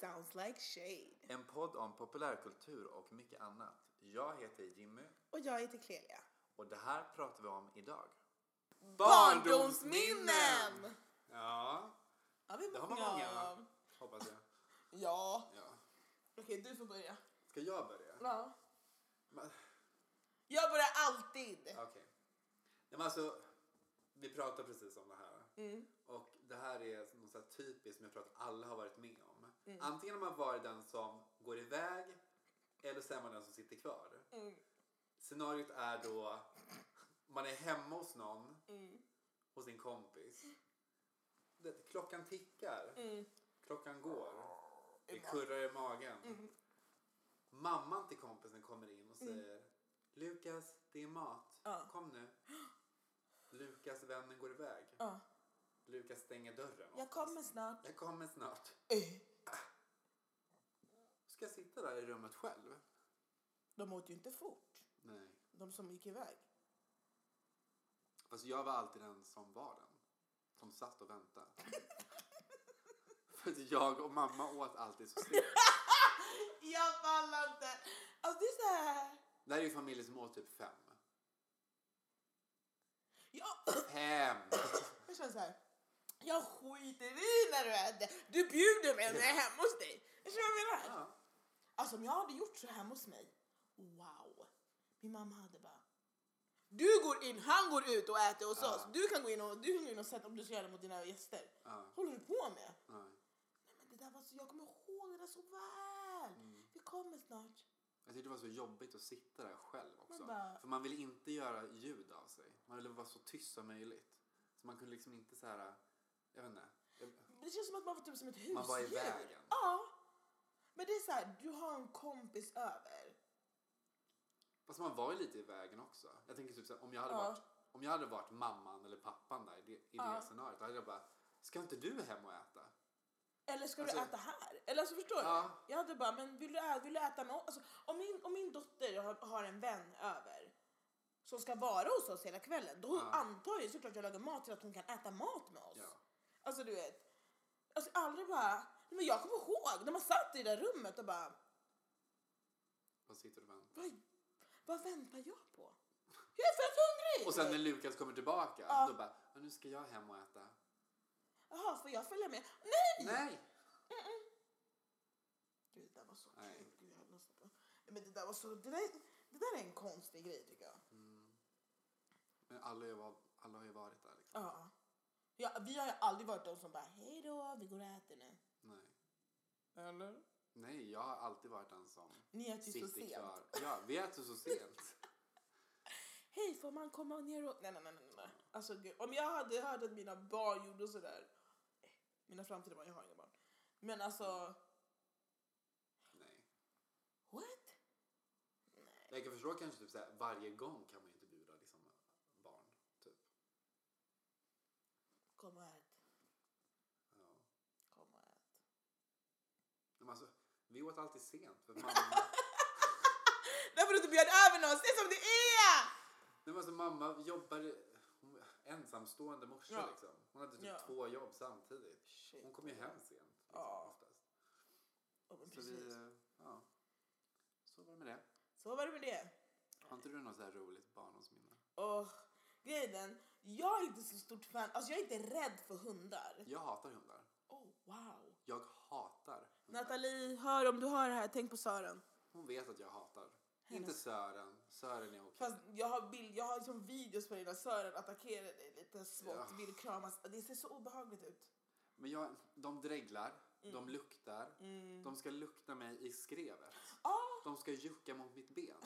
sounds like shade. En podd om populärkultur och mycket annat. Jag heter Jimmy Och jag heter Clelia. och det här pratar vi om idag. Barndomsminnen! Ja, Ja, vi det har man många av, hoppas jag. Ja. Ja. Okej, du får börja. Ska jag börja? Ja. Men- Jag börjar alltid. Okej. Nej, men alltså, vi pratade precis om det här. Och det här är något så här typiskt som jag tror att alla har varit med om. Antingen har man varit den som går iväg eller så är man den som sitter kvar. Scenariot är då man är hemma hos någon, hos sin kompis. Det, klockan tickar, Mm. klockan går, det kurrar i magen. Mm. Mamman till kompisen kommer in och säger Lukas, det är mat. Mm. Ja. Kom nu. Lukas, vännen går iväg. Ja. Lukas stänger dörren. Jag kommer snart. Jag kommer snart. Eh, Ska jag sitta där i rummet själv? De åt ju inte fort, Nej. de som gick iväg. Alltså jag var alltid den som var den. Som satt och väntade. För att jag och mamma åt alltid så sent. Jag pallar inte. Alltså det är så här. Det här är ju familjer som åt typ fem. Jag, Fem! jag känner så här. Jag skiter i när du äter. Du bjuder mig när jag är hemma hos dig. Jag känner vad jag menar. Ja. Alltså om jag hade gjort så hemma hos mig. Wow. Min mamma hade bara. Du går in, han går ut och äter hos Ja. oss. Du kan gå in och, du kan gå in och sätta om du ska göra det mot dina gäster. Ja. håller du på med? Nej. Nej, men det där var så, jag kommer ihåg det där så väl. Mm. Vi kommer snart. Jag tyckte det var så jobbigt att sitta där själv också. Man bara- För man ville inte göra ljud av sig. Man ville vara så tyst som möjligt. Så man kunde liksom inte så här, jag vet inte. Jag- Det känns som att man var typ som ett husdjur. Man var i vägen. Ja. Men det är så här, du har en kompis över. Fast man var ju lite i vägen också. Jag tänker typ så här, om jag hade Ja. varit om jag hade varit mamman eller pappan där i det, i Ja. det scenariot, då hade jag bara, ska inte du hem och äta? Eller ska du Alltså- äta här? Eller alltså förstår Ja. du? Jag hade bara, men vill du, ä- vill du äta något? Alltså, om, min, om min dotter har, har en vän över som ska vara hos oss hela kvällen, då Ja. antar jag såklart jag lagar mat till att hon kan äta mat med oss. Ja. Alltså du vet, alltså aldrig bara, nej, men jag kommer ihåg när man satt i det där rummet och bara, Och sitter och väntar. vad, vad väntar jag på? Jag är fett hungrig! Och sen när Lukas kommer tillbaka, Ja. då bara, "Ja, nu ska jag hem och äta. Jaha, får jag följa med? Nej! Nej! Gud, det där var så Nej. kul. Gud, jag hade nästan på. Men det där var så, det där, det där är en konstig grej tycker jag. Mm. Men alla, har ju var- alla har ju varit där liksom. Ja. ja. Vi har ju aldrig varit de som bara hej då, vi går och äter nu. Nej. Eller? Nej, jag har alltid varit den som Ni äter ju så sitter sent. kvar. Ja, vi äter så sent. Hej, får man komma ner och... Nej, nej, nej, nej. nej. Alltså, gud. Om jag hade hört att mina barn gjorde sådär. Mina framtida barn, jag har inga barn. Men alltså, Nej. what? Jag kan förstå kanske typ såhär, varje gång kan man ju inte bjuda liksom barn. Typ. Kom och ät. Ja. Kom och ät. Men alltså, vi åt alltid sent. För mamma, Därför du inte bjöd över någon, se som det är! Nej, men alltså, mamma jobbar hon, ensamstående morsa Ja. liksom. Hon hade typ Ja. två jobb samtidigt. Shit. Hon kom ju hem sent. Liksom, Ja, oftast. Ja, men Så, vi, precis. eh, ja. så var det med det. Så var det med det. Har inte du något så här roligt barndomsminne? Och grejen, jag är inte så stort fan, alltså jag är inte rädd för hundar. Jag hatar hundar. Oh, wow. Jag hatar hundar. Nathalie, hör om du hör det här, tänk på Sören. Hon vet att jag hatar. Inte Sören. Sören är okej. Fast jag har, bild, jag har liksom videos på dig när Sören attackerar dig lite smått, Ja. vill kramas. Det ser så obehagligt ut. Men jag, de dreglar, Mm. de luktar, de ska lukta mig i skrevet. Ah! De ska jucka mot mitt ben.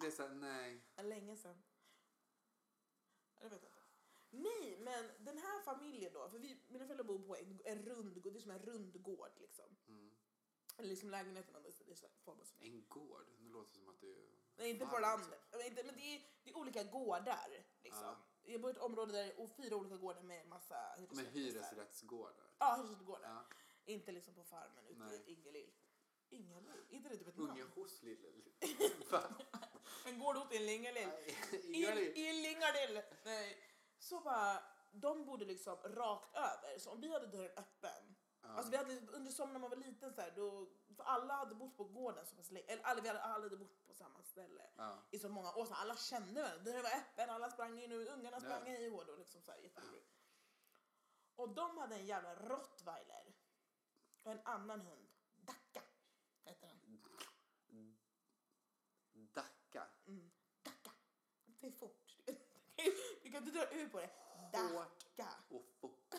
Det är såhär, nej. Länge sedan. Ja, Det vet jag inte. Nej, men den här familjen då, för vi, mina föräldrar bor på en, en rundgård, det är som en rundgård liksom. Eller liksom lägenheten, men det är så här format som Mm. En gård? Nu låter det som att det är... Nej, inte på Fan, landet. Men, inte, men det, är, det är olika gårdar. typ. Liksom. Ja. Jag bor i ett område där det är o- fyra olika gårdar med massa Med hyresrätter. hyresrättsgårdar. Ja, hyresrättsgårdar. Ja. Inte liksom på farmen ute Nej. i Ingelill. Ingelill? Inte det typ ett namn? Unge hos lille... lille- Va? En gård åt en Ingelill. Ingrid. Illingadill! Nej. Så bara, de bodde liksom rakt över. Så om vi hade dörren öppen Alltså vi hade under sommaren när man var liten så här, då, för alla hade bott på gården så pass länge, eller alla, vi hade, alla hade bott på samma ställe Ja. i så många år. Så alla kände varandra. Den var öppen, alla sprang in och ungarna Ja. sprang i och då liksom så här jätteroligt. Och de hade en jävla rottweiler och en annan hund, Dacka hette den. Dacka. Mm. Dacka. Det är fort. Du kan inte dra ut på det. Dacka. Och fort.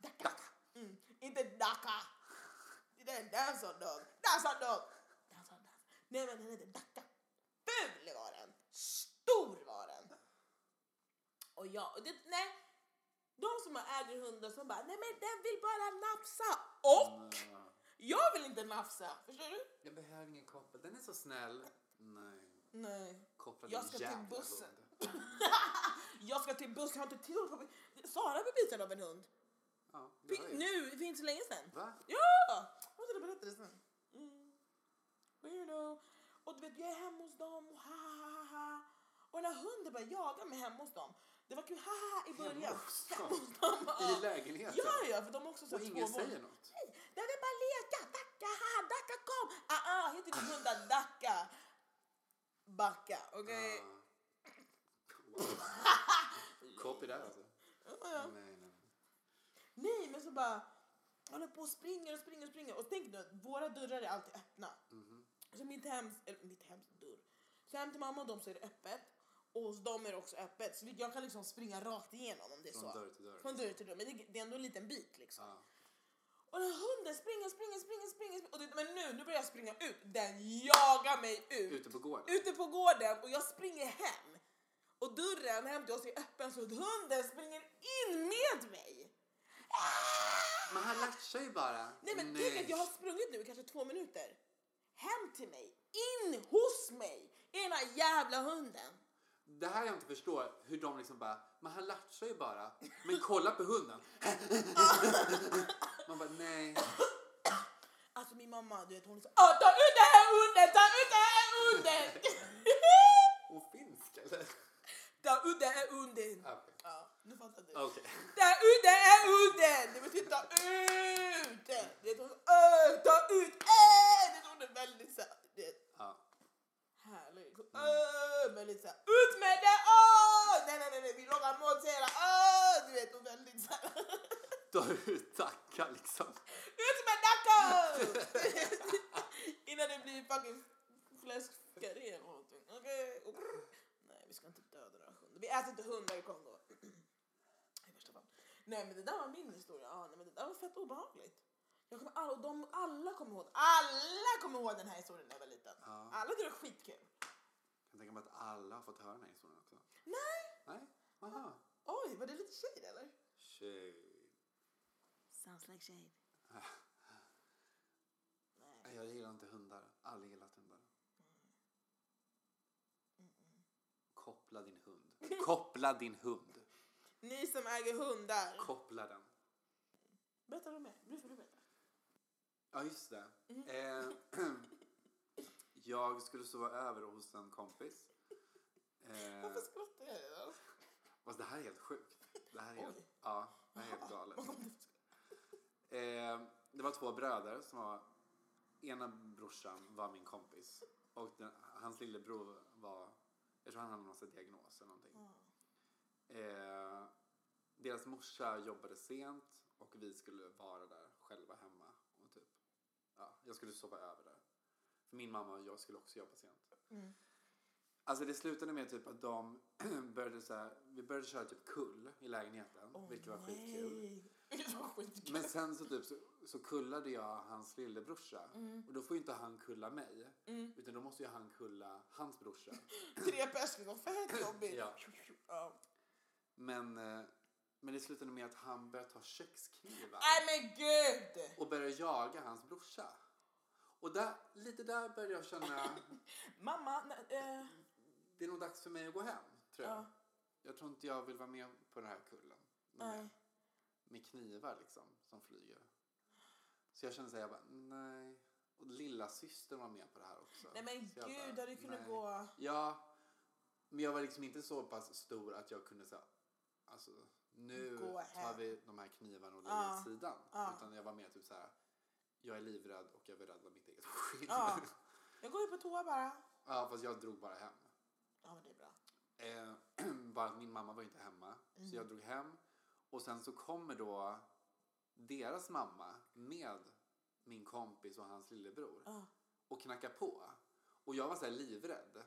Dacka. Mm. Inte Dacka. Det är en dancehall dog. Dancehall dog. Dancehall dog. Nej men den heter Dacka. Ful var den. Stor var den. Och jag, och det, nej. De som äger hundar som bara, nej men den vill bara nafsa. Och Nej. jag vill inte nafsa. Förstår du? Jag behöver ingen koppel. Den är så snäll. Nej. Nej. Koppla Jag din ska till jävla bussen. hund. Jag ska till buss, jag har inte tid att komma- Sara blev biten av en hund. Ja, det har Fi- jag. nu, det är inte så länge sedan. Va? Ja! Jag måste berätta det sen. Mm. Weirdo. Och du vet, jag är hemma hos dem och ha ha ha ha. Och den här hunden började jaga mig hemma hos dem. Det var kul, ha ha ha i början. Hemma hos dem? dem, ja. I lägenheten? Ja, ja, för de har också så Och här ingen två våningar. säger något? Nej, den vill bara leka. Dacka, ha, Dacka kom. Ah, ah, heter din hund där, Dacka. Backa, okej? Ja. Wow. Copy där alltså. Ja, ja. Nej, nej. Nej, men så bara håller på och springer och springer och springer. Och tänk nu att våra dörrar är alltid öppna. Mhm. Så mitt hems, eller mitt hems dörr. Så hem till mamma och dem så är det öppet. Och hos dem är det också öppet. Så vi- jag kan liksom springa rakt igenom om det är Från så. dörr till dörr. liksom. Från dörr till dörr. Men det, det är ändå en liten bit liksom. Ja. Och den hunden springer, springer, springer, springer. springer. Och det, men nu, nu börjar jag springa ut. Den jagar mig ut. Ute på gården? Ute på gården och jag springer hem. Och dörren hem till oss är öppen så att hunden springer in med mig. Men han latchar ju bara. eh, Nej men tänk att jag har sprungit nu i kanske två minuter. Hem till mig, in hos mig, i den här jävla hunden. Det här jag inte förstår, hur de liksom bara, men han latchar ju bara. Men kolla på hunden. Man bara, nej. Alltså min mamma, du vet hon sa "Ah, ta ut den här hunden, ta ut den här hunden! Och finsk eller? ta ut den här hunden. Okej. Ja, nu fattar du. Okej. Ta ut den här hunden! Det betyder ta ut! Du vet hon sa "Åh, ta ut, äh! Det är hon är väldigt såhär, du vet. Ja. Härlig. Liksom. Öh, väldigt såhär, ut med det! Åh! Nej, nej, nej, nej, vi lagar mat säger hon. Åh! Du vet, hon är väldigt såhär. Då har du tackat liksom. Ut med nacken! Innan det blir fucking fläskkarré eller någonting. Okej. och- Nej, vi ska inte döda några hundar. Vi äter inte hundar i Kongo. I värsta fall. Nej, men det där var min historia. Ja, nej, men det där var fett obehagligt. Jag kommer all, och de, alla kommer ihåg Alla kommer ihåg den här historien när jag var liten. Ja. Alla tyckte det var skitkul. Jag tänker mig att alla har fått höra den här historien också. Nej! Nej? Aha. Oj, var det lite shade eller? Tjej. Sounds like shade. Nej. Nej, Jag gillar inte hundar. Aldrig gillat hundar. Koppla din hund. Koppla din hund. Ni som äger hundar. Koppla den. Berätta du mer. Nu får du berätta. Ja, just det. Eh, jag skulle sova över hos en kompis. Eh, Varför skrattar jag? då? fast det här är helt sjukt. Det här är helt, Oj. ja, det här är helt galet. Eh, det var två bröder som var... Ena brorsan var min kompis. Och den, hans lillebror var... Jag tror han hade någon sån här diagnos eller någonting. Eh, deras morsa jobbade sent och vi skulle vara där själva hemma. Och typ, ja, jag skulle sova över där. För min mamma och jag skulle också jobba sent. Mm. Alltså det slutade med typ att de började så här, vi började köra typ kull i lägenheten. vilket var skitkul. Vilket var skitkul. Men sen så typ så, så kullade jag hans lillebrorsa. Och då får ju inte han kulla mig. Mm. Utan då måste ju han kulla hans brorsa. Tre pers liksom, fett jobbigt. Ja. Ja. Men, eh, men det slutade med att han började ta köksknivar. Nej men gud! och började jaga hans brorsa. Och där, lite där började jag känna, Mamma, nej, eh, det är nog dags för mig att gå hem, tror jag. Ja. Jag tror inte jag vill vara med på den här kullen. nej. Med, med knivar liksom, som flyger. Så jag kände såhär, jag bara, nej. Och lilla systern var med på det här också. nej men Så jag gud, bara, hade du kunnat nej. gå... Ja, men jag var liksom inte så pass stor att jag kunde säga, alltså, nu Gå tar hem. vi de här knivarna och lägger Ja. åt sidan. Ja. Utan jag var mer typ så här, jag är livrädd och jag vill rädda mitt eget skinn. Ja. Jag går ju på toa bara. ja, fast jag drog bara hem. Ja, men det är bra. Eh, bara att min mamma var inte hemma. Så Mhm. jag drog hem. Och sen så kommer då deras mamma med min kompis och hans lillebror Ja. och knackar på. Och jag var så här livrädd.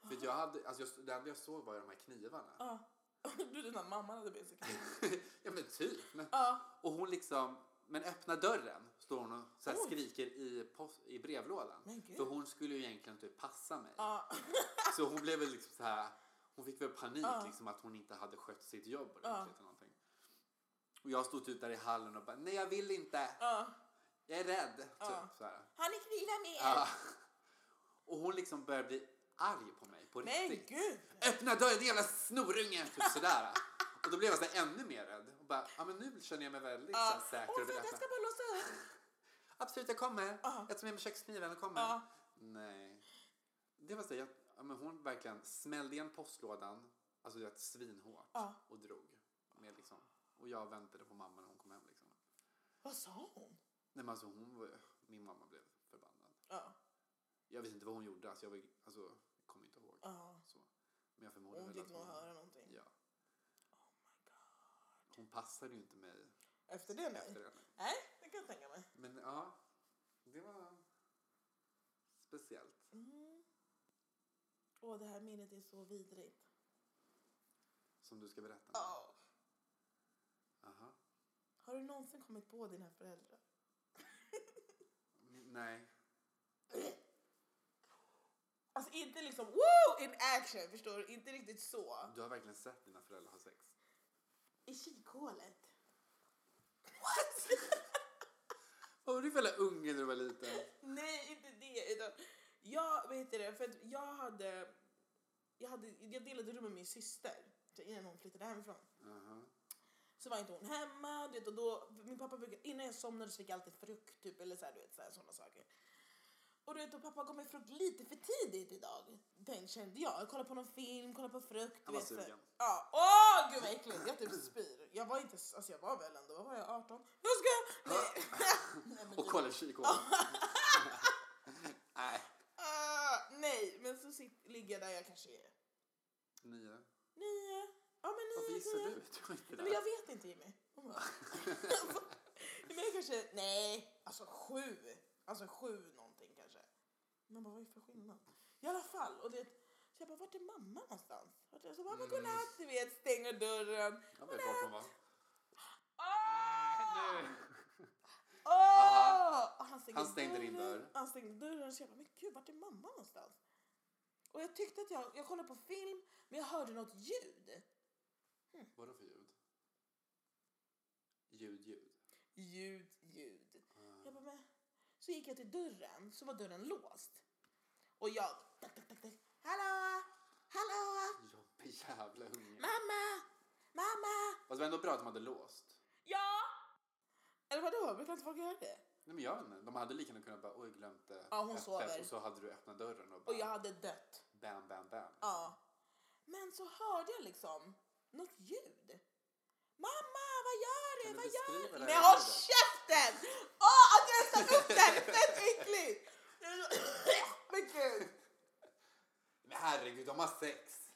För att jag hade, alltså jag, det enda jag såg var ju de här knivarna. Ja. Du, den där mamman hade blivit så kul. ja men typ. Men, Ja. och hon liksom, men öppna dörren står hon och så här Oj. skriker i, post, i brevlådan. Men gud. För hon skulle ju egentligen typ passa mig. Ja. Så hon blev väl liksom så här, hon fick väl panik Ja. liksom att hon inte hade skött sitt jobb ordentligt Ja. eller någonting. Och jag stod typ där i hallen och bara, nej jag vill inte, Ja. jag är rädd. Typ, Ja. så här. Han är knivar med Ja. Och hon liksom började bli arg på mig på Men riktigt. gud. Öppna dörren, din jävla snorunge! Typ sådär. Och då blev jag så här ännu mer rädd. Och bara, ja men nu känner jag mig väldigt så här, Ja. säker. Åh, och vill vänta, jag öppna. ska bara låsa upp. Absolut, jag kommer. Ja. Jag tar med mig kökskniven och kommer. Ja. Nej. Det var så jag, ja, men hon verkligen smällde igen postlådan, alltså det var ett svinhårt Ja. och drog. Med liksom. Och jag väntade på mamma när hon kom hem liksom. Vad sa hon? Nej men alltså hon var, min mamma blev förbannad. Ja. Jag vet inte vad hon gjorde, alltså jag var, alltså, jag kommer inte ihåg. Ja. Så. Men jag förmodar Hon väl fick att nog hon, höra någonting. ja. Oh hon passade ju inte mig Efter det, nej. efter det. Nej, det kan jag tänka mig. Men ja, det var speciellt. Mm. Åh, det här minnet är så vidrigt. Som du ska berätta nu. Ja. Aha. Har du någonsin kommit på dina föräldrar? N- Nej. Alltså inte liksom wow in action, förstår du? Inte riktigt så. Du har verkligen sett dina föräldrar ha sex. I kikhålet. What? Vad var du för jävla unge när du var liten? Nej, inte det. Utan jag, vad heter det, för att jag hade, jag hade, jag delade rum med min syster så innan hon flyttade hemifrån. Aha. Så var inte hon hemma, du vet, och då, min pappa brukade, innan jag somnade så fick jag alltid frukt typ, eller så här, du vet, så här, sådana saker. Och du vet, och pappa gav mig frukt lite för tidigt idag, den kände jag. Jag kollade på någon film, kollade på frukt. Han var du vet, så här. sugen. Ja, åh gud vad äckligt, jag typ spyr. Jag var inte, s- alltså jag var väl ändå, vad var jag, 18? Jag ska! Nej. Nej, men Och typ. kolla kikhålet. Nej. Ah, nej, men så sit, ligger jag där jag kanske är Nio. nio. Ja, men Varför nio, gissar du? tio. Du var inte Nej, men jag där. vet inte Jimmy. Hon bara- Nej, men jag kanske, nej, alltså sju. Alltså sju någonting kanske. Man bara, vad är det för skillnad? I alla fall, och det, så jag bara, vart är mamma någonstans? Vart är, så mamma, Mm. godnatt, du vet, stänger dörren. Jag vet vart hon var. Åh! Nu. Åh! Och han, Han stängde din dörren. dörr. Han stängde dörren så jag bara, men gud vart är mamma någonstans? Och jag tyckte att jag, jag kollade på film men jag hörde något ljud. Vad är det för ljud? Ljud, ljud. Ljud, ljud. Ah. Jag bara, men. Så gick jag till dörren så var dörren låst. Och jag, tack, tack, tack, tack. hallå, hallå, Jobbig jävla unge. mamma, mamma, Fast det var ändå bra att de hade låst. ja. Eller vadå, brukar inte folk göra det? Nej men jag vet inte. De hade lika gärna kunnat bara, oj glömt det. Ja, hon öppet. sover. Och så hade du öppnat dörren och bara, Och jag hade dött. bam, bam, bam. Ja. Men så hörde jag liksom något ljud. Mamma, vad gör Kan du du? Vad gör beskriva du? det Men här håll ljudet? käften! Åh, att jag satt upp den! Fett äckligt! Men gud! Men herregud, de har sex.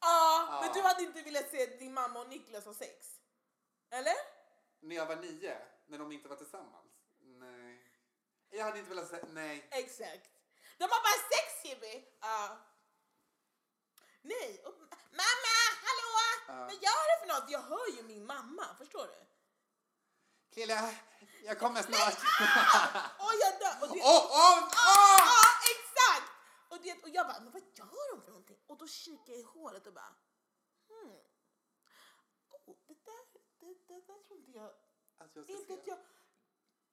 Ja, Ja. men du hade inte velat se din mamma och Niklas ha sex? Eller? När jag var nio, när de inte var tillsammans? Nej. Jag hade inte velat säga nej. Exakt. De har bara sex Jimmy! Ja. Nej, och, mamma, hallå! Ja. Vad gör du för något? Jag hör ju min mamma, förstår du? Krille, jag kommer snart. Åh, jag dör! Och det- Åh, åh, Ja, åh! exakt! Och, det, och jag bara, men vad gör de för någonting? Och då kikar jag i hålet och bara, hmm. Oh, det där, det, det där tror inte jag, Att jag ska inte att se. jag,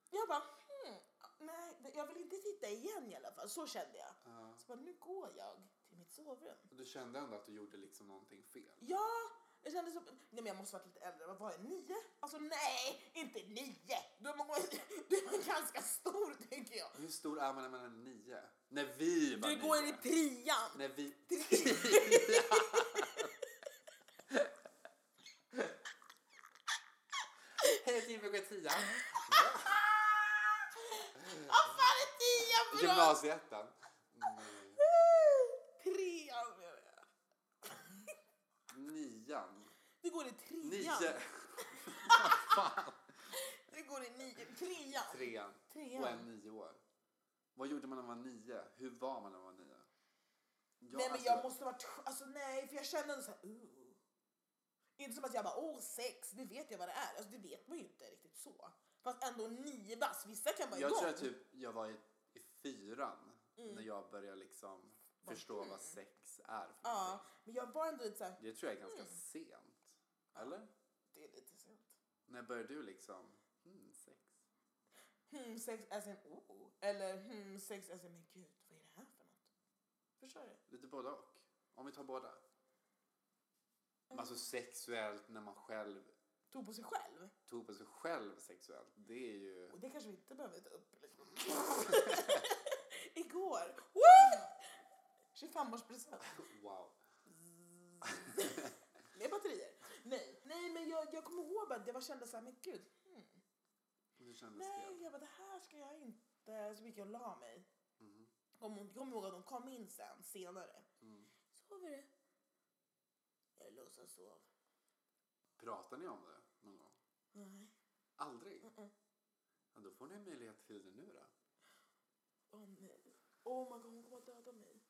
jag bara, hmm. Nej, det- jag vill inte titta igen i alla fall. Så kände jag. Ja. Så bara, nu går jag till mitt sovrum. Du kände ändå att du gjorde liksom någonting fel. Ja, jag kände så, nej men jag måste varit lite äldre. Vad var jag, nio? Alltså nej, inte nio! Du är, du är ganska stor tycker jag. Hur stor är man när man är nio? När vi var Du nio. går in i trean. När vi... Tre- tia. Ah! Vad fan är tian för något? Gymnasieettan. Mm, Trean menar jag. Nian. Du går i trean. Nio. Du går i nio. Trean. Trean. Trean. Och en nio år. Vad gjorde man när man var nio? Hur var man när man var nio? Jag, nej men alltså, jag måste vara... tr- Alltså nej, för jag känner ändå så här... Uh. Inte som att jag bara, åh sex, det vet jag vad det är. Alltså det vet man ju inte riktigt så. Fast ändå nio bass, vissa kan vara jag igång. tror att typ jag var i, i fyran Mm. när jag började liksom Vad förstå vad sex är. För Ja, någonting. men jag var ändå lite så här, Det tror jag är ganska Mm. sent. Eller? det är lite sent. När började du liksom? Mm, sex. Hmm, sex as in oh. Eller hmm, sex as in men gud, vad är det här för något? Förstår du? Lite både och. Om vi tar båda. Alltså sexuellt när man själv Tog på sig själv. tog på sig själv sexuellt. Det är ju... Och det kanske vi inte behöver ta upp. Liksom. Igår. Woo! 25-årspresent. Wow. Med batterier. Nej, Nej men jag, jag kommer ihåg att jag var kände så här, men gud. Hmm. Hur kändes Nej, det? jag bara, det här ska jag inte. Så gick jag och la mig. Mhm. Kom, kom ihåg att de kom in sen, senare. Mm. Sover du? Jag låtsas sov. Pratar ni om det någon gång? Nej. Aldrig? Mm-mm. Ja, då får ni en möjlighet till det nu då. Åh nej. Oh my god, hon kommer att döda mig.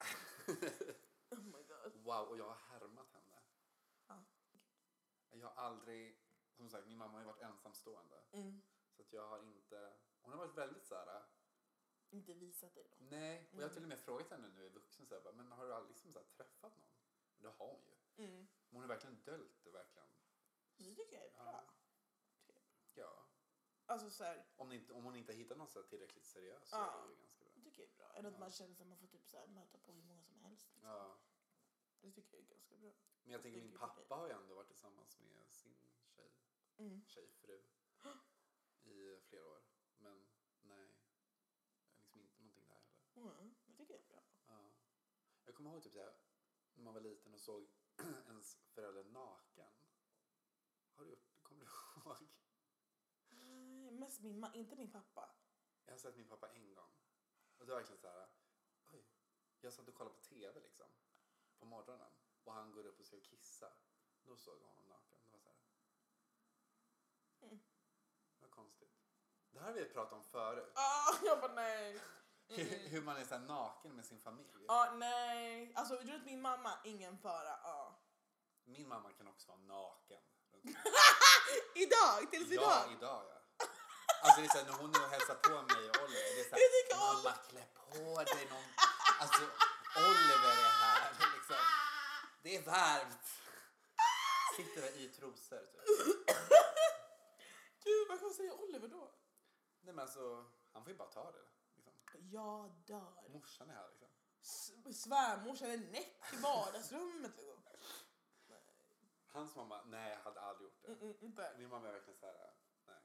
oh my god. Wow, och jag har härmat henne. Ja. Jag har aldrig... Som sagt, min mamma har ju varit ensamstående. Mm. Så att jag har inte... Hon har varit väldigt så här... Inte visat dig då. Nej, och jag har till och med frågat henne nu i vuxen så här, bara, men har du aldrig liksom så här träffat någon? Det har hon ju. Mm. Men hon har verkligen döljt det verkligen. Det tycker jag är bra. Typ. Ja. Ja. Alltså så här, Om, det inte, om hon inte hittar någon så här tillräckligt seriös så Ja. är det ju ganska bra. det tycker jag är bra. Eller att Ja. man känner att man får typ så här, möta på hur många som helst. Liksom. Ja. Det tycker jag är ganska bra. Men jag tänker min Tänker på dig. pappa har ju ändå varit tillsammans med sin tjej, Mm. tjejfru i flera år. Men nej, det är liksom inte någonting där heller. Mm. Det tycker jag är bra. Ja. Jag kommer ihåg typ såhär, när man var liten och såg ens förälder naken. Har du gjort, kommer du ihåg? Nej, mest min ma- inte min pappa. Jag har sett min pappa en gång. Och det var verkligen så här. Oj. Jag satt och kollade på TV liksom. På morgonen. Och han går upp och ska kissa. Då såg jag honom naken. Det var så här. Mm. Vad konstigt. Det här har vi pratat om förut. Ah, jag bara nej. Mm. Hur man är så här naken med sin familj. Ah, nej. Alltså runt min mamma, ingen fara. Ah. Min mamma kan också vara naken. Idag, tills Ja, idag. idag ja. Alltså det är så här, när hon nu hälsar på mig och Oliver. Det är så Jag tycker här, om- mamma klä på dig någon. Alltså Oliver är här liksom. Det är varmt. Sitter där i trosor typ. Gud, vad kan man säga Oliver då? Nej men alltså, han får ju bara ta det. Liksom. Jag dör. Morsan är här liksom. S- svärmorsan är näck i vardagsrummet. Liksom. Hans mamma, nej jag hade aldrig gjort Mm, det. mm, inte. Min mamma är verkligen så här, nej.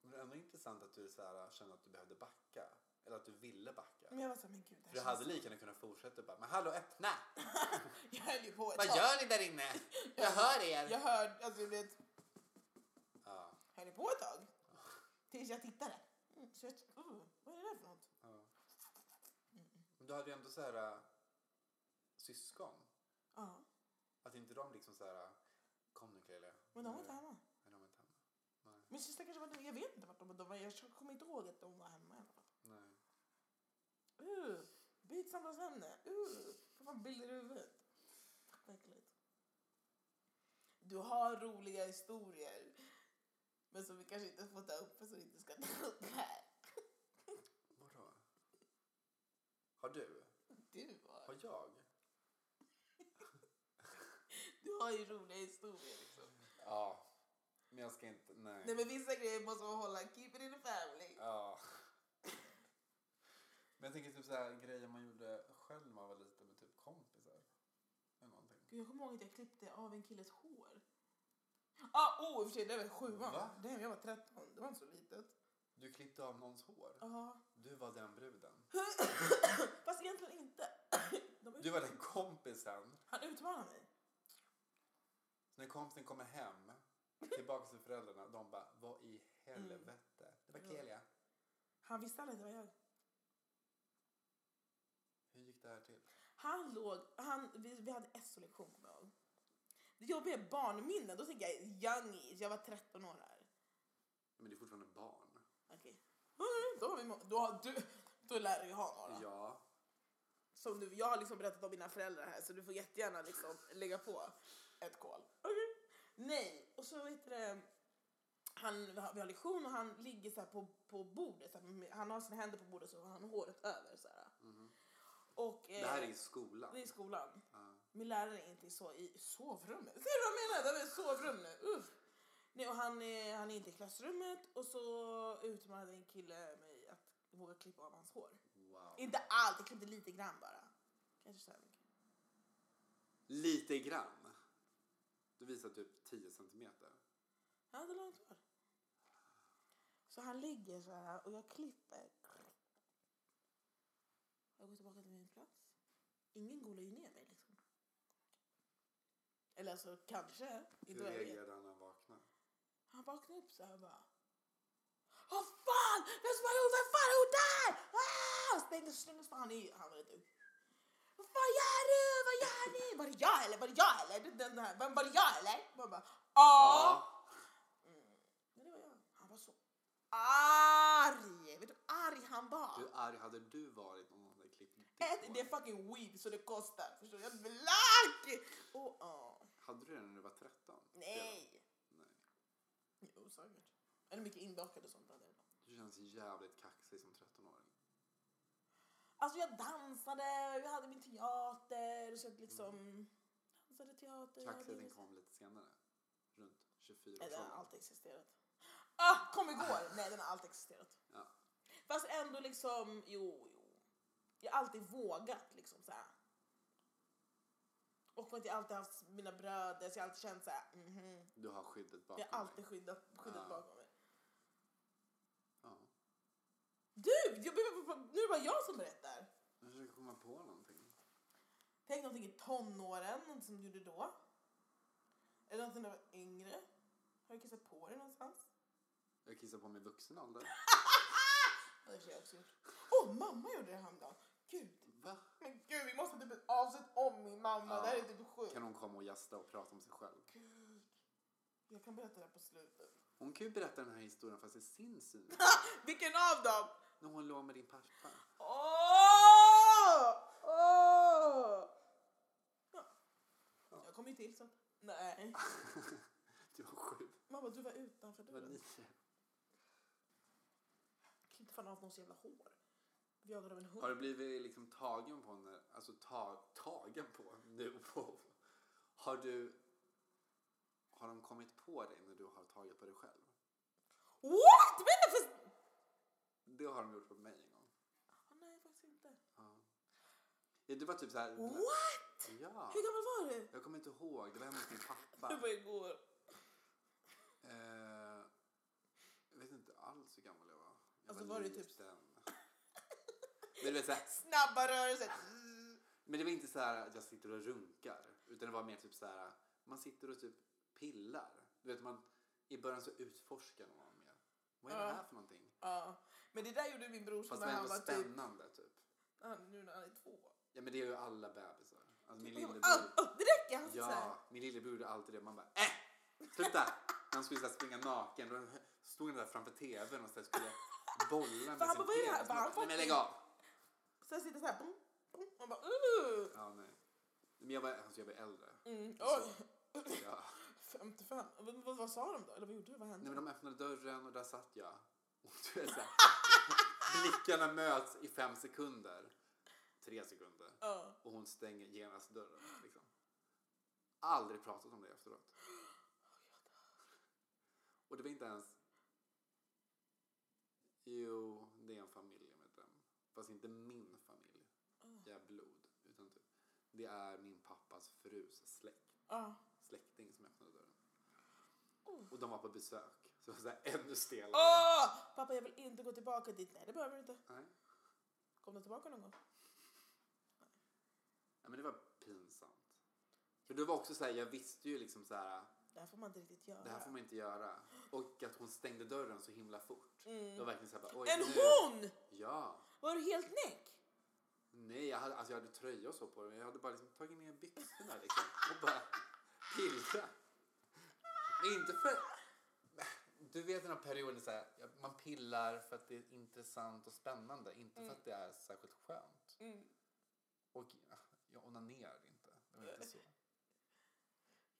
Men det är ändå intressant att du så här, kände att du behövde backa. Eller att du ville backa. Men jag var såhär, men gud. Det För du hade lika gärna kunnat fortsätta bara, men hallå öppna! jag höll ju på ett Vad tag. gör ni där inne? Jag hör er! Jag hörde, alltså du vet, Ja, höll ju på ett tag. Tills jag tittade. Mm, så jag, oh, vad är det där för något? ja. Men du hade ju ändå så här äh, syskon. Ja, Att inte de liksom så här, äh, kom nu Kaeli. men de var Mm. inte hemma. Nej, de var inte hemma. Min syster kanske var jag vet inte vart de var. De var jag kommer inte ihåg att de var hemma i alla fall. Nej. Uh, byt samtalsämne. Uh, får man bilder i huvudet. Vad äckligt. Du har roliga historier. Men som vi kanske inte får ta upp för som vi inte ska ta upp här. Vadå? Har du? Du har, Har jag? du har ju roliga historier liksom. Ja. Men jag ska inte, nej. Nej men vissa grejer måste man hålla. Keep it in the family. Ja. Men jag tänker typ så här grejer man gjorde själv när man var liten med typ kompisar. Eller någonting. Gud, jag kommer ihåg att jag klippte av en killes hår. Ah, oh, i och för sig, det var i sjuan. Va? Det var jag var 13. Det var inte så litet. Du klippte av någons hår. Ja. Du var den bruden. Fast egentligen inte. De ut- Du var den kompisen. Han utmanar mig. Så när kompisen kommer hem Tillbaka till föräldrarna. De bara, vad i helvete? Det var Ja. Kelia. Han visste aldrig att det var jag. Hur gick det här till? Han låg, han, vi, vi hade SO-lektion kommer jag ihåg. Det jobbiga är barnminnen, då tänker jag youngies, jag var 13 år här. Men det är fortfarande barn. Okej. Mm, Då har vi, må- då har du, då lär du ju ha några. Ja. Som du, jag har liksom berättat om mina föräldrar här så du får jättegärna liksom lägga på ett kol. Okej. Nej, och så vet du det, han, vi har- vi har lektion och han ligger så här på, på bordet, så här, med- han har sina händer på bordet så har han håret över så här. Mhm. Och, eh, Det här är i skolan. det är i skolan. Ja. Min lärare är inte så i sovrummet. Ser du vad jag menar? Det är ett sovrum nu. Uff. Nej, och han, är, han är inte i klassrummet och så utmanade en kille mig att våga klippa av hans hår. Wow. Inte allt, jag klippte lite grann bara. Kanske så här mycket. Lite grann. Du visar typ 10 centimeter. Han hade långt hår. Så han ligger så här och jag klipper. Jag går tillbaka till min plats. Ingen golar ju ner mig liksom. Eller alltså kanske. Hur Inte vad jag vet. reagerade han när han vaknade? Han vaknade upp så här och bara. Vad fan! Vem som har gjort Vem fan har gjort det här? Ah! Stängde stängde fan. Han, är- han var lite... Vad fan gör du? Vad gör ni? Var det jag eller? Var det jag eller? Den- Den här. Vem var det jag eller? Man bara ja. Mm. Men det var jag. Han var så arg. Vet du hur arg han var? Hur arg hade du varit om någon hade klippt ditt Ett, hår? Äh, det är fucking weed så det kostar. Förstår du? Jag är black! Och, ja. Hade du det när du var 13? Nej. Redan? Nej. Jo, säkert. Eller mycket inbakade och sånt. hade jag. Du känns jävligt kaxig som 13-åring. Alltså jag dansade, jag hade min teater, så att liksom dansade teater. jag hade Kaxigheten liksom- kom lite senare. Runt 24 Nej, års den har ålder. alltid existerat. Ah, kom igår! Nej, den har alltid existerat. Ja. Fast ändå liksom, jo, jo. Jag har alltid vågat liksom så här. Och för att jag alltid haft mina bröder, så jag har alltid känt så här, mhm. Du har skyddet bakom Jag har alltid dig. skyddat, skyddat Ja. bakom mig. Ja. Du! Jag, behöver- nu är det bara jag som berättar. Jag försöker komma på någonting. Tänk någonting i tonåren, något som du gjorde då. Eller någonting när du var yngre. Har du kissat på dig någonstans? Jag kissar på mig i vuxen ålder. Ja, Det har jag också gjort. Åh, mamma gjorde det häromdagen. Gud, Va? men gud, vi måste typ ett avsnitt om min mamma. Ja. Det här är typ sjukt. Kan hon komma och gästa och prata om sig själv? Gud. Jag kan berätta det här på slutet. Hon kan ju berätta den här historien fast i sin syn. Vilken av dem? När hon låg med din pappa. Åh! Åh! Ja. Ja. Jag kom ju till så att... Nej. du var sju. Mamma, du var utanför Du var dörren. nio. Klippte fan av någons jävla hår. Vi jagade av en hund. Har du blivit liksom tagen på när, alltså ta, tagen på nu på? Har du, har de kommit på dig när du har tagit på dig själv? What? Vänta, fast... Det har de gjort på mig en gång. Ah, nej, faktiskt inte. Ja. Ja, det var typ så här. What? Ja. Hur gammal var du? Jag kommer inte ihåg. Det var hemma hos min pappa. Det var igår. Eh, jag vet inte alls hur gammal jag var. Jag Alltså, var det typ- liten. Men, det var så här, Snabba rörelser. men det var inte så här att jag sitter och runkar. Utan det var mer typ så här. Man sitter och typ pillar. Du vet man. I början så utforskar man mer. Vad är det Ja. här för någonting? Ja. Men det där gjorde min brorsa Fast det när var han ändå var typ... spännande typ. Han, nu när han är två. Ja men det är ju alla bebisar. Alltså min Jag bara, lillebror. "Åh, åh, det räcker! Han ja. Alltså, så här. Ja, min lillebror gjorde alltid det. Man bara äh! Sluta! När han skulle så här springa naken då stod han där framför tvn och så här skulle bolla med Fan, sin vad är det här? penis. Fan, Man bara, Nej men lägg av! Sen sitter så här... Bum, bum, man bara... Uh. Ja, nej. Men jag var, alltså jag var äldre. Mm. Oj! Ja. 55. Men Vad, vad sa de då? Eller vad gjorde du? Nej, Vad hände? men de öppnade dörren och där satt jag. Och du vet så här, blickarna möts i fem sekunder. Tre sekunder. Ja. Och hon stänger genast dörren. Liksom. Aldrig pratat om det efteråt. Och det var inte ens... Jo, det är en familjemedlem. Fast inte min familj. Jag är blod. Utan typ, det är min pappas frus släkt, Ja. släkting som öppnade dörren. Oh. Och de var på besök. Så det var så här ännu stelare. Åh! Pappa, jag vill inte gå tillbaka dit. Nej, det behöver du inte. Nej. Kom du tillbaka någon gång? Ja, men det var pinsamt. För det var också så här, jag visste ju liksom så här, Det här får man inte riktigt göra. Det här får man inte göra. Och att hon stängde dörren så himla fort. Det var verkligen såhär bara, oj Mm. En nu. hon! Ja. Var du helt näck? Nej, jag hade, alltså jag hade tröja och så på mig. Jag hade bara liksom tagit ner byxorna liksom. Och bara pillra. Men inte för Du vet den här perioden så här, man pillar för att det är intressant och spännande. Inte Mm. för att det är särskilt skönt. Och ja, jag onanerar inte. Det var inte så.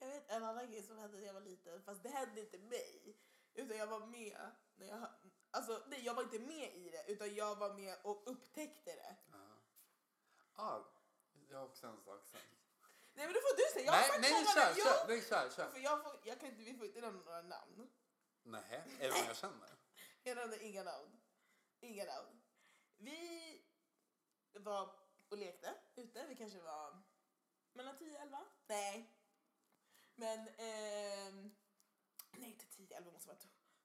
Jag vet en annan grej som hände när jag var liten, fast det hände inte mig. Utan jag var med när jag... Alltså nej, jag var inte med i det, utan jag var med och upptäckte det. Ja. Ah, jag har också en sak sen. Nej men då får du säga, jag har nej, sagt nej, många kör, namn. kör, nej, kör, Jo, kör. För jag, får, jag kan inte, vi får inte nämna några namn. Nähä, är det vad jag känner? Jag nämner inga namn. Inga namn. Vi var och lekte ute, vi kanske var mellan 10 och 11? Nej. Men, ehm, nej inte 10 11 måste vara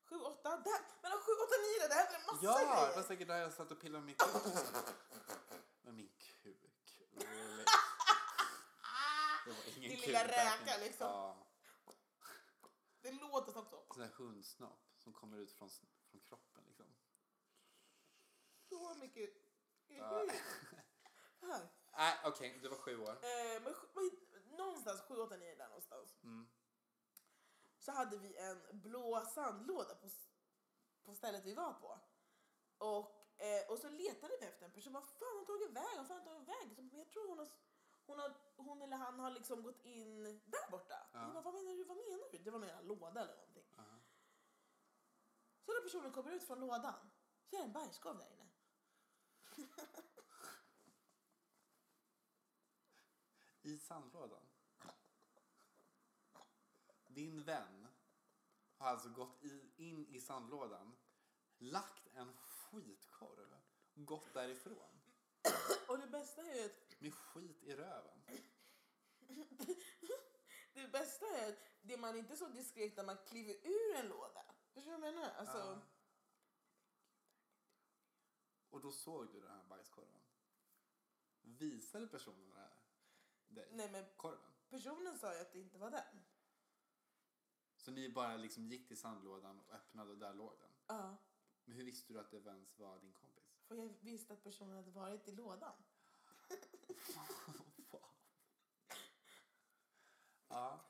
7, 8, där, mellan 7, 8, 9 där hände det massa Ja, det var grejer. säkert där jag satt och pillade med min kuk. Med min kuk. Really? Det var ingen Din lilla kuk där. räka, liksom. Ja, Det låter som så. sån där hundsnopp som kommer ut från, från kroppen liksom. Så mycket. Ja. Här. Nej, okej, du var sju år. Eh, men sj- vad- någonstans, 7, 8, 9 där någonstans. Mm. så hade vi en blå sandlåda på, s- på stället vi var på. Och, eh, och så letade vi efter en person. Vad fan har tagit vägen? Vad fan har tagit vägen? Så, men jag tror hon, har, s- hon, har, hon eller han har liksom gått in där borta. Ja. Vi Bara, vad menar du? Vad menar du? Det var någon jävla låda eller någonting. Ja. Så när personen kommer ut från lådan så är det en bergskorv där inne. I sandlådan. Din vän har alltså gått i, in i sandlådan, lagt en skitkorv, gått därifrån Och det bästa är ju att med skit i röven. det, bästa är att det man inte är så diskret när man kliver ur en låda. Förstår du vad jag menar? Alltså, Ja. Och då såg du den här bajskorven. Visade personen det här dig? Nej men Korven? personen sa ju att det inte var den. Så ni bara liksom gick till sandlådan och öppnade och där låg den. Ja. Men hur visste du att det ens var din kompis? För jag visste att personen hade varit i lådan. wow. Ja.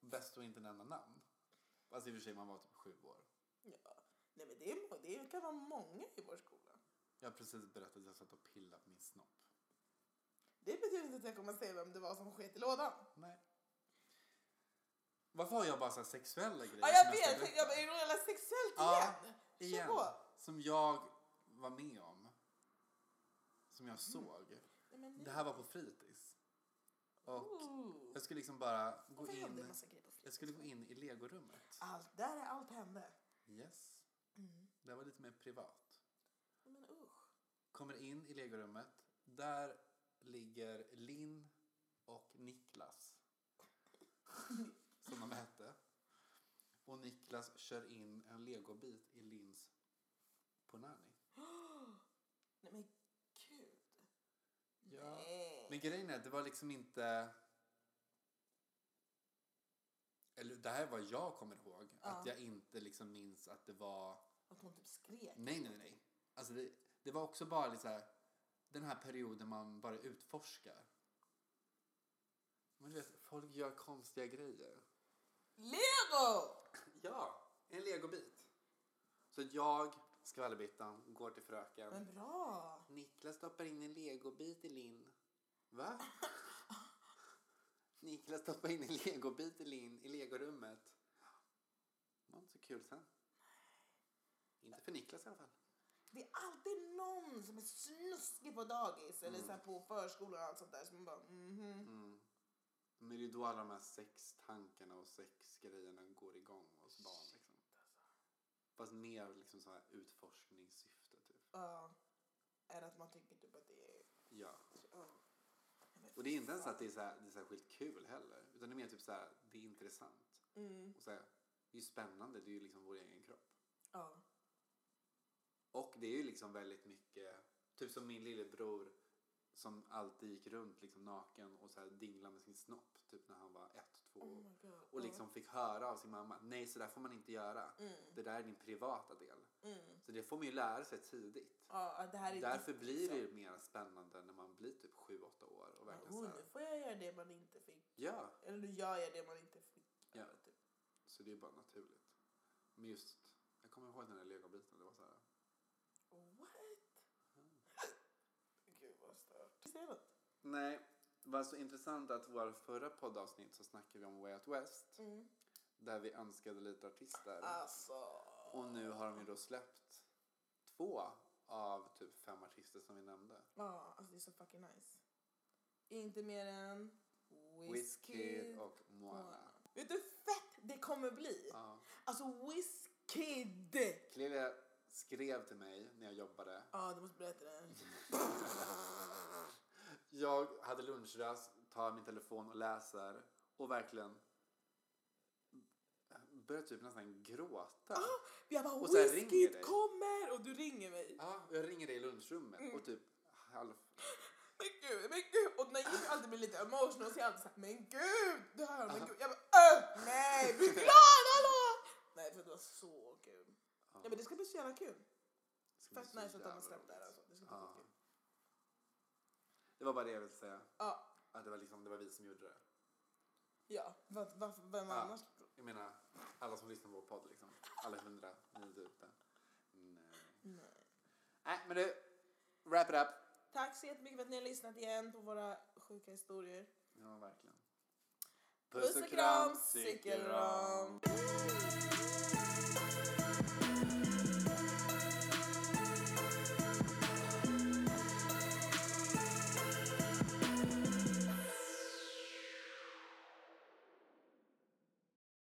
Bäst att inte nämna namn. Alltså i och för sig, man var typ sju år. Ja. Nej men det, är, må- det kan vara många i vår skola. Jag har precis berättat att jag satt och pillade på min snopp. Det betyder inte att jag kommer att säga vem det var som sket i lådan. Nej. Varför har jag bara så här sexuella grejer? Ja jag som ska vet! berätta? Jag bara, är det något jävla sexuellt Ja, igen? Kör igen på. som jag var med om. Som Mm. jag såg. Nej, men nu- Det här var på fritids. Och Ooh. jag skulle liksom bara gå Varför hände Ah. en in. massa grejer på flit? Jag skulle gå in i legorummet. Allt, där är allt hände. Yes. Mm. Det här var lite mer privat. Men usch. Kommer in i legorummet. Där ligger Linn och Niklas. Som de hette. Och Niklas kör in en legobit i Linns Ponani. Nej men gud. Ja. Nej. Men grejen är att det var liksom inte... Eller det här är vad jag kommer ihåg. Att Ja. jag inte liksom minns att det var... Att hon typ skrek. Nej, nej, nej. Alltså det, det var också bara lite så här, den här perioden man bara utforskar. Men du vet, folk gör konstiga grejer. Lego! Ja, en legobit. Så jag, skvallerbittan, går till fröken. Men bra. Niklas stoppar in en legobit i Linn. Va? Niklas stoppar in en legobit i Linn i legorummet. Det var inte så kul sen. Inte för Niklas i alla fall. Det är alltid någon som är snuskig på dagis eller så här på förskolan och allt sånt där som man bara mhm. Mm. Men det är då alla de här sextankarna och sexgrejerna går igång hos barn. Liksom. Fast mer liksom så här utforskningssyfte. Typ. Ja. Är att man tycker typ att det är... Ja. ja. Och det är inte ens att det är, så här, det är särskilt kul heller. Utan det är mer typ så här, det är intressant. Mm. Och så här, det är ju spännande, det är ju liksom vår egen kropp. Ja. Och det är ju liksom väldigt mycket, typ som min lillebror som alltid gick runt liksom naken och så här dinglade med sin snopp typ när han var ett, två Oh år. my god. Och liksom fick höra av sin mamma, nej så där får man inte göra. Det där är din privata del. Mm. Så det får man ju lära sig tidigt. Ja, det här är Därför ditt, blir liksom. det ju mer spännande när man blir typ sju åtta år och verkligen Oh, så här, nu får jag göra det man inte fick. ja. Eller nu gör jag det man inte fick. Ja. Typ. Så det är bara naturligt. Men just, jag kommer ihåg den där legobiten, det var så här, What? Gud vad stört. Ska jag säga något? Nej, det var så intressant att vårt förra poddavsnitt så snackade vi om Way Out West. Mm. Där vi önskade lite artister. Alltså. Och nu har de ju då släppt två av typ fem artister som vi nämnde. Ja, alltså det är så fucking nice. Inte mer än Wizkid Wizkid och Moana. Vet du hur fett det kommer bli? Ja. Alltså Wizkid! Clelia skrev till mig när jag jobbade. Ja, du måste berätta det. Jag hade lunchrast, tar min telefon och läser och verkligen börjar typ nästan gråta. Jag bara Och sen ringer Wizkid dig. kommer! Och du ringer mig. Ja, och jag ringer dig i lunchrummet Mm. och typ halv... Men gud, men gud! Och när jag alltid blir lite emotional så är jag alltid såhär, men gud! Det här, men gud. Jag bara, öh, nej, bli glad hallå! Nej, för det var så kul. Ja. Nej men det ska bli så jävla kul. ska bli Fett så nice att de har jävla släppt det här roligt. alltså. Det ska bli Ja. skitkul. Det var bara det jag ville säga. Ja, Att det var liksom, det var vi som gjorde det. ja. Va- va- Vem Ja. annars? Jag menar, alla som lyssnar på vår podd liksom. Alla hundra, ni typ där ute. Nej. Nej. Mm, eh. Nej, men du. Wrap it up. Tack så jättemycket för att ni har lyssnat igen på våra sjuka historier. Ja, verkligen. Puss och kram, cykelram. cykelram.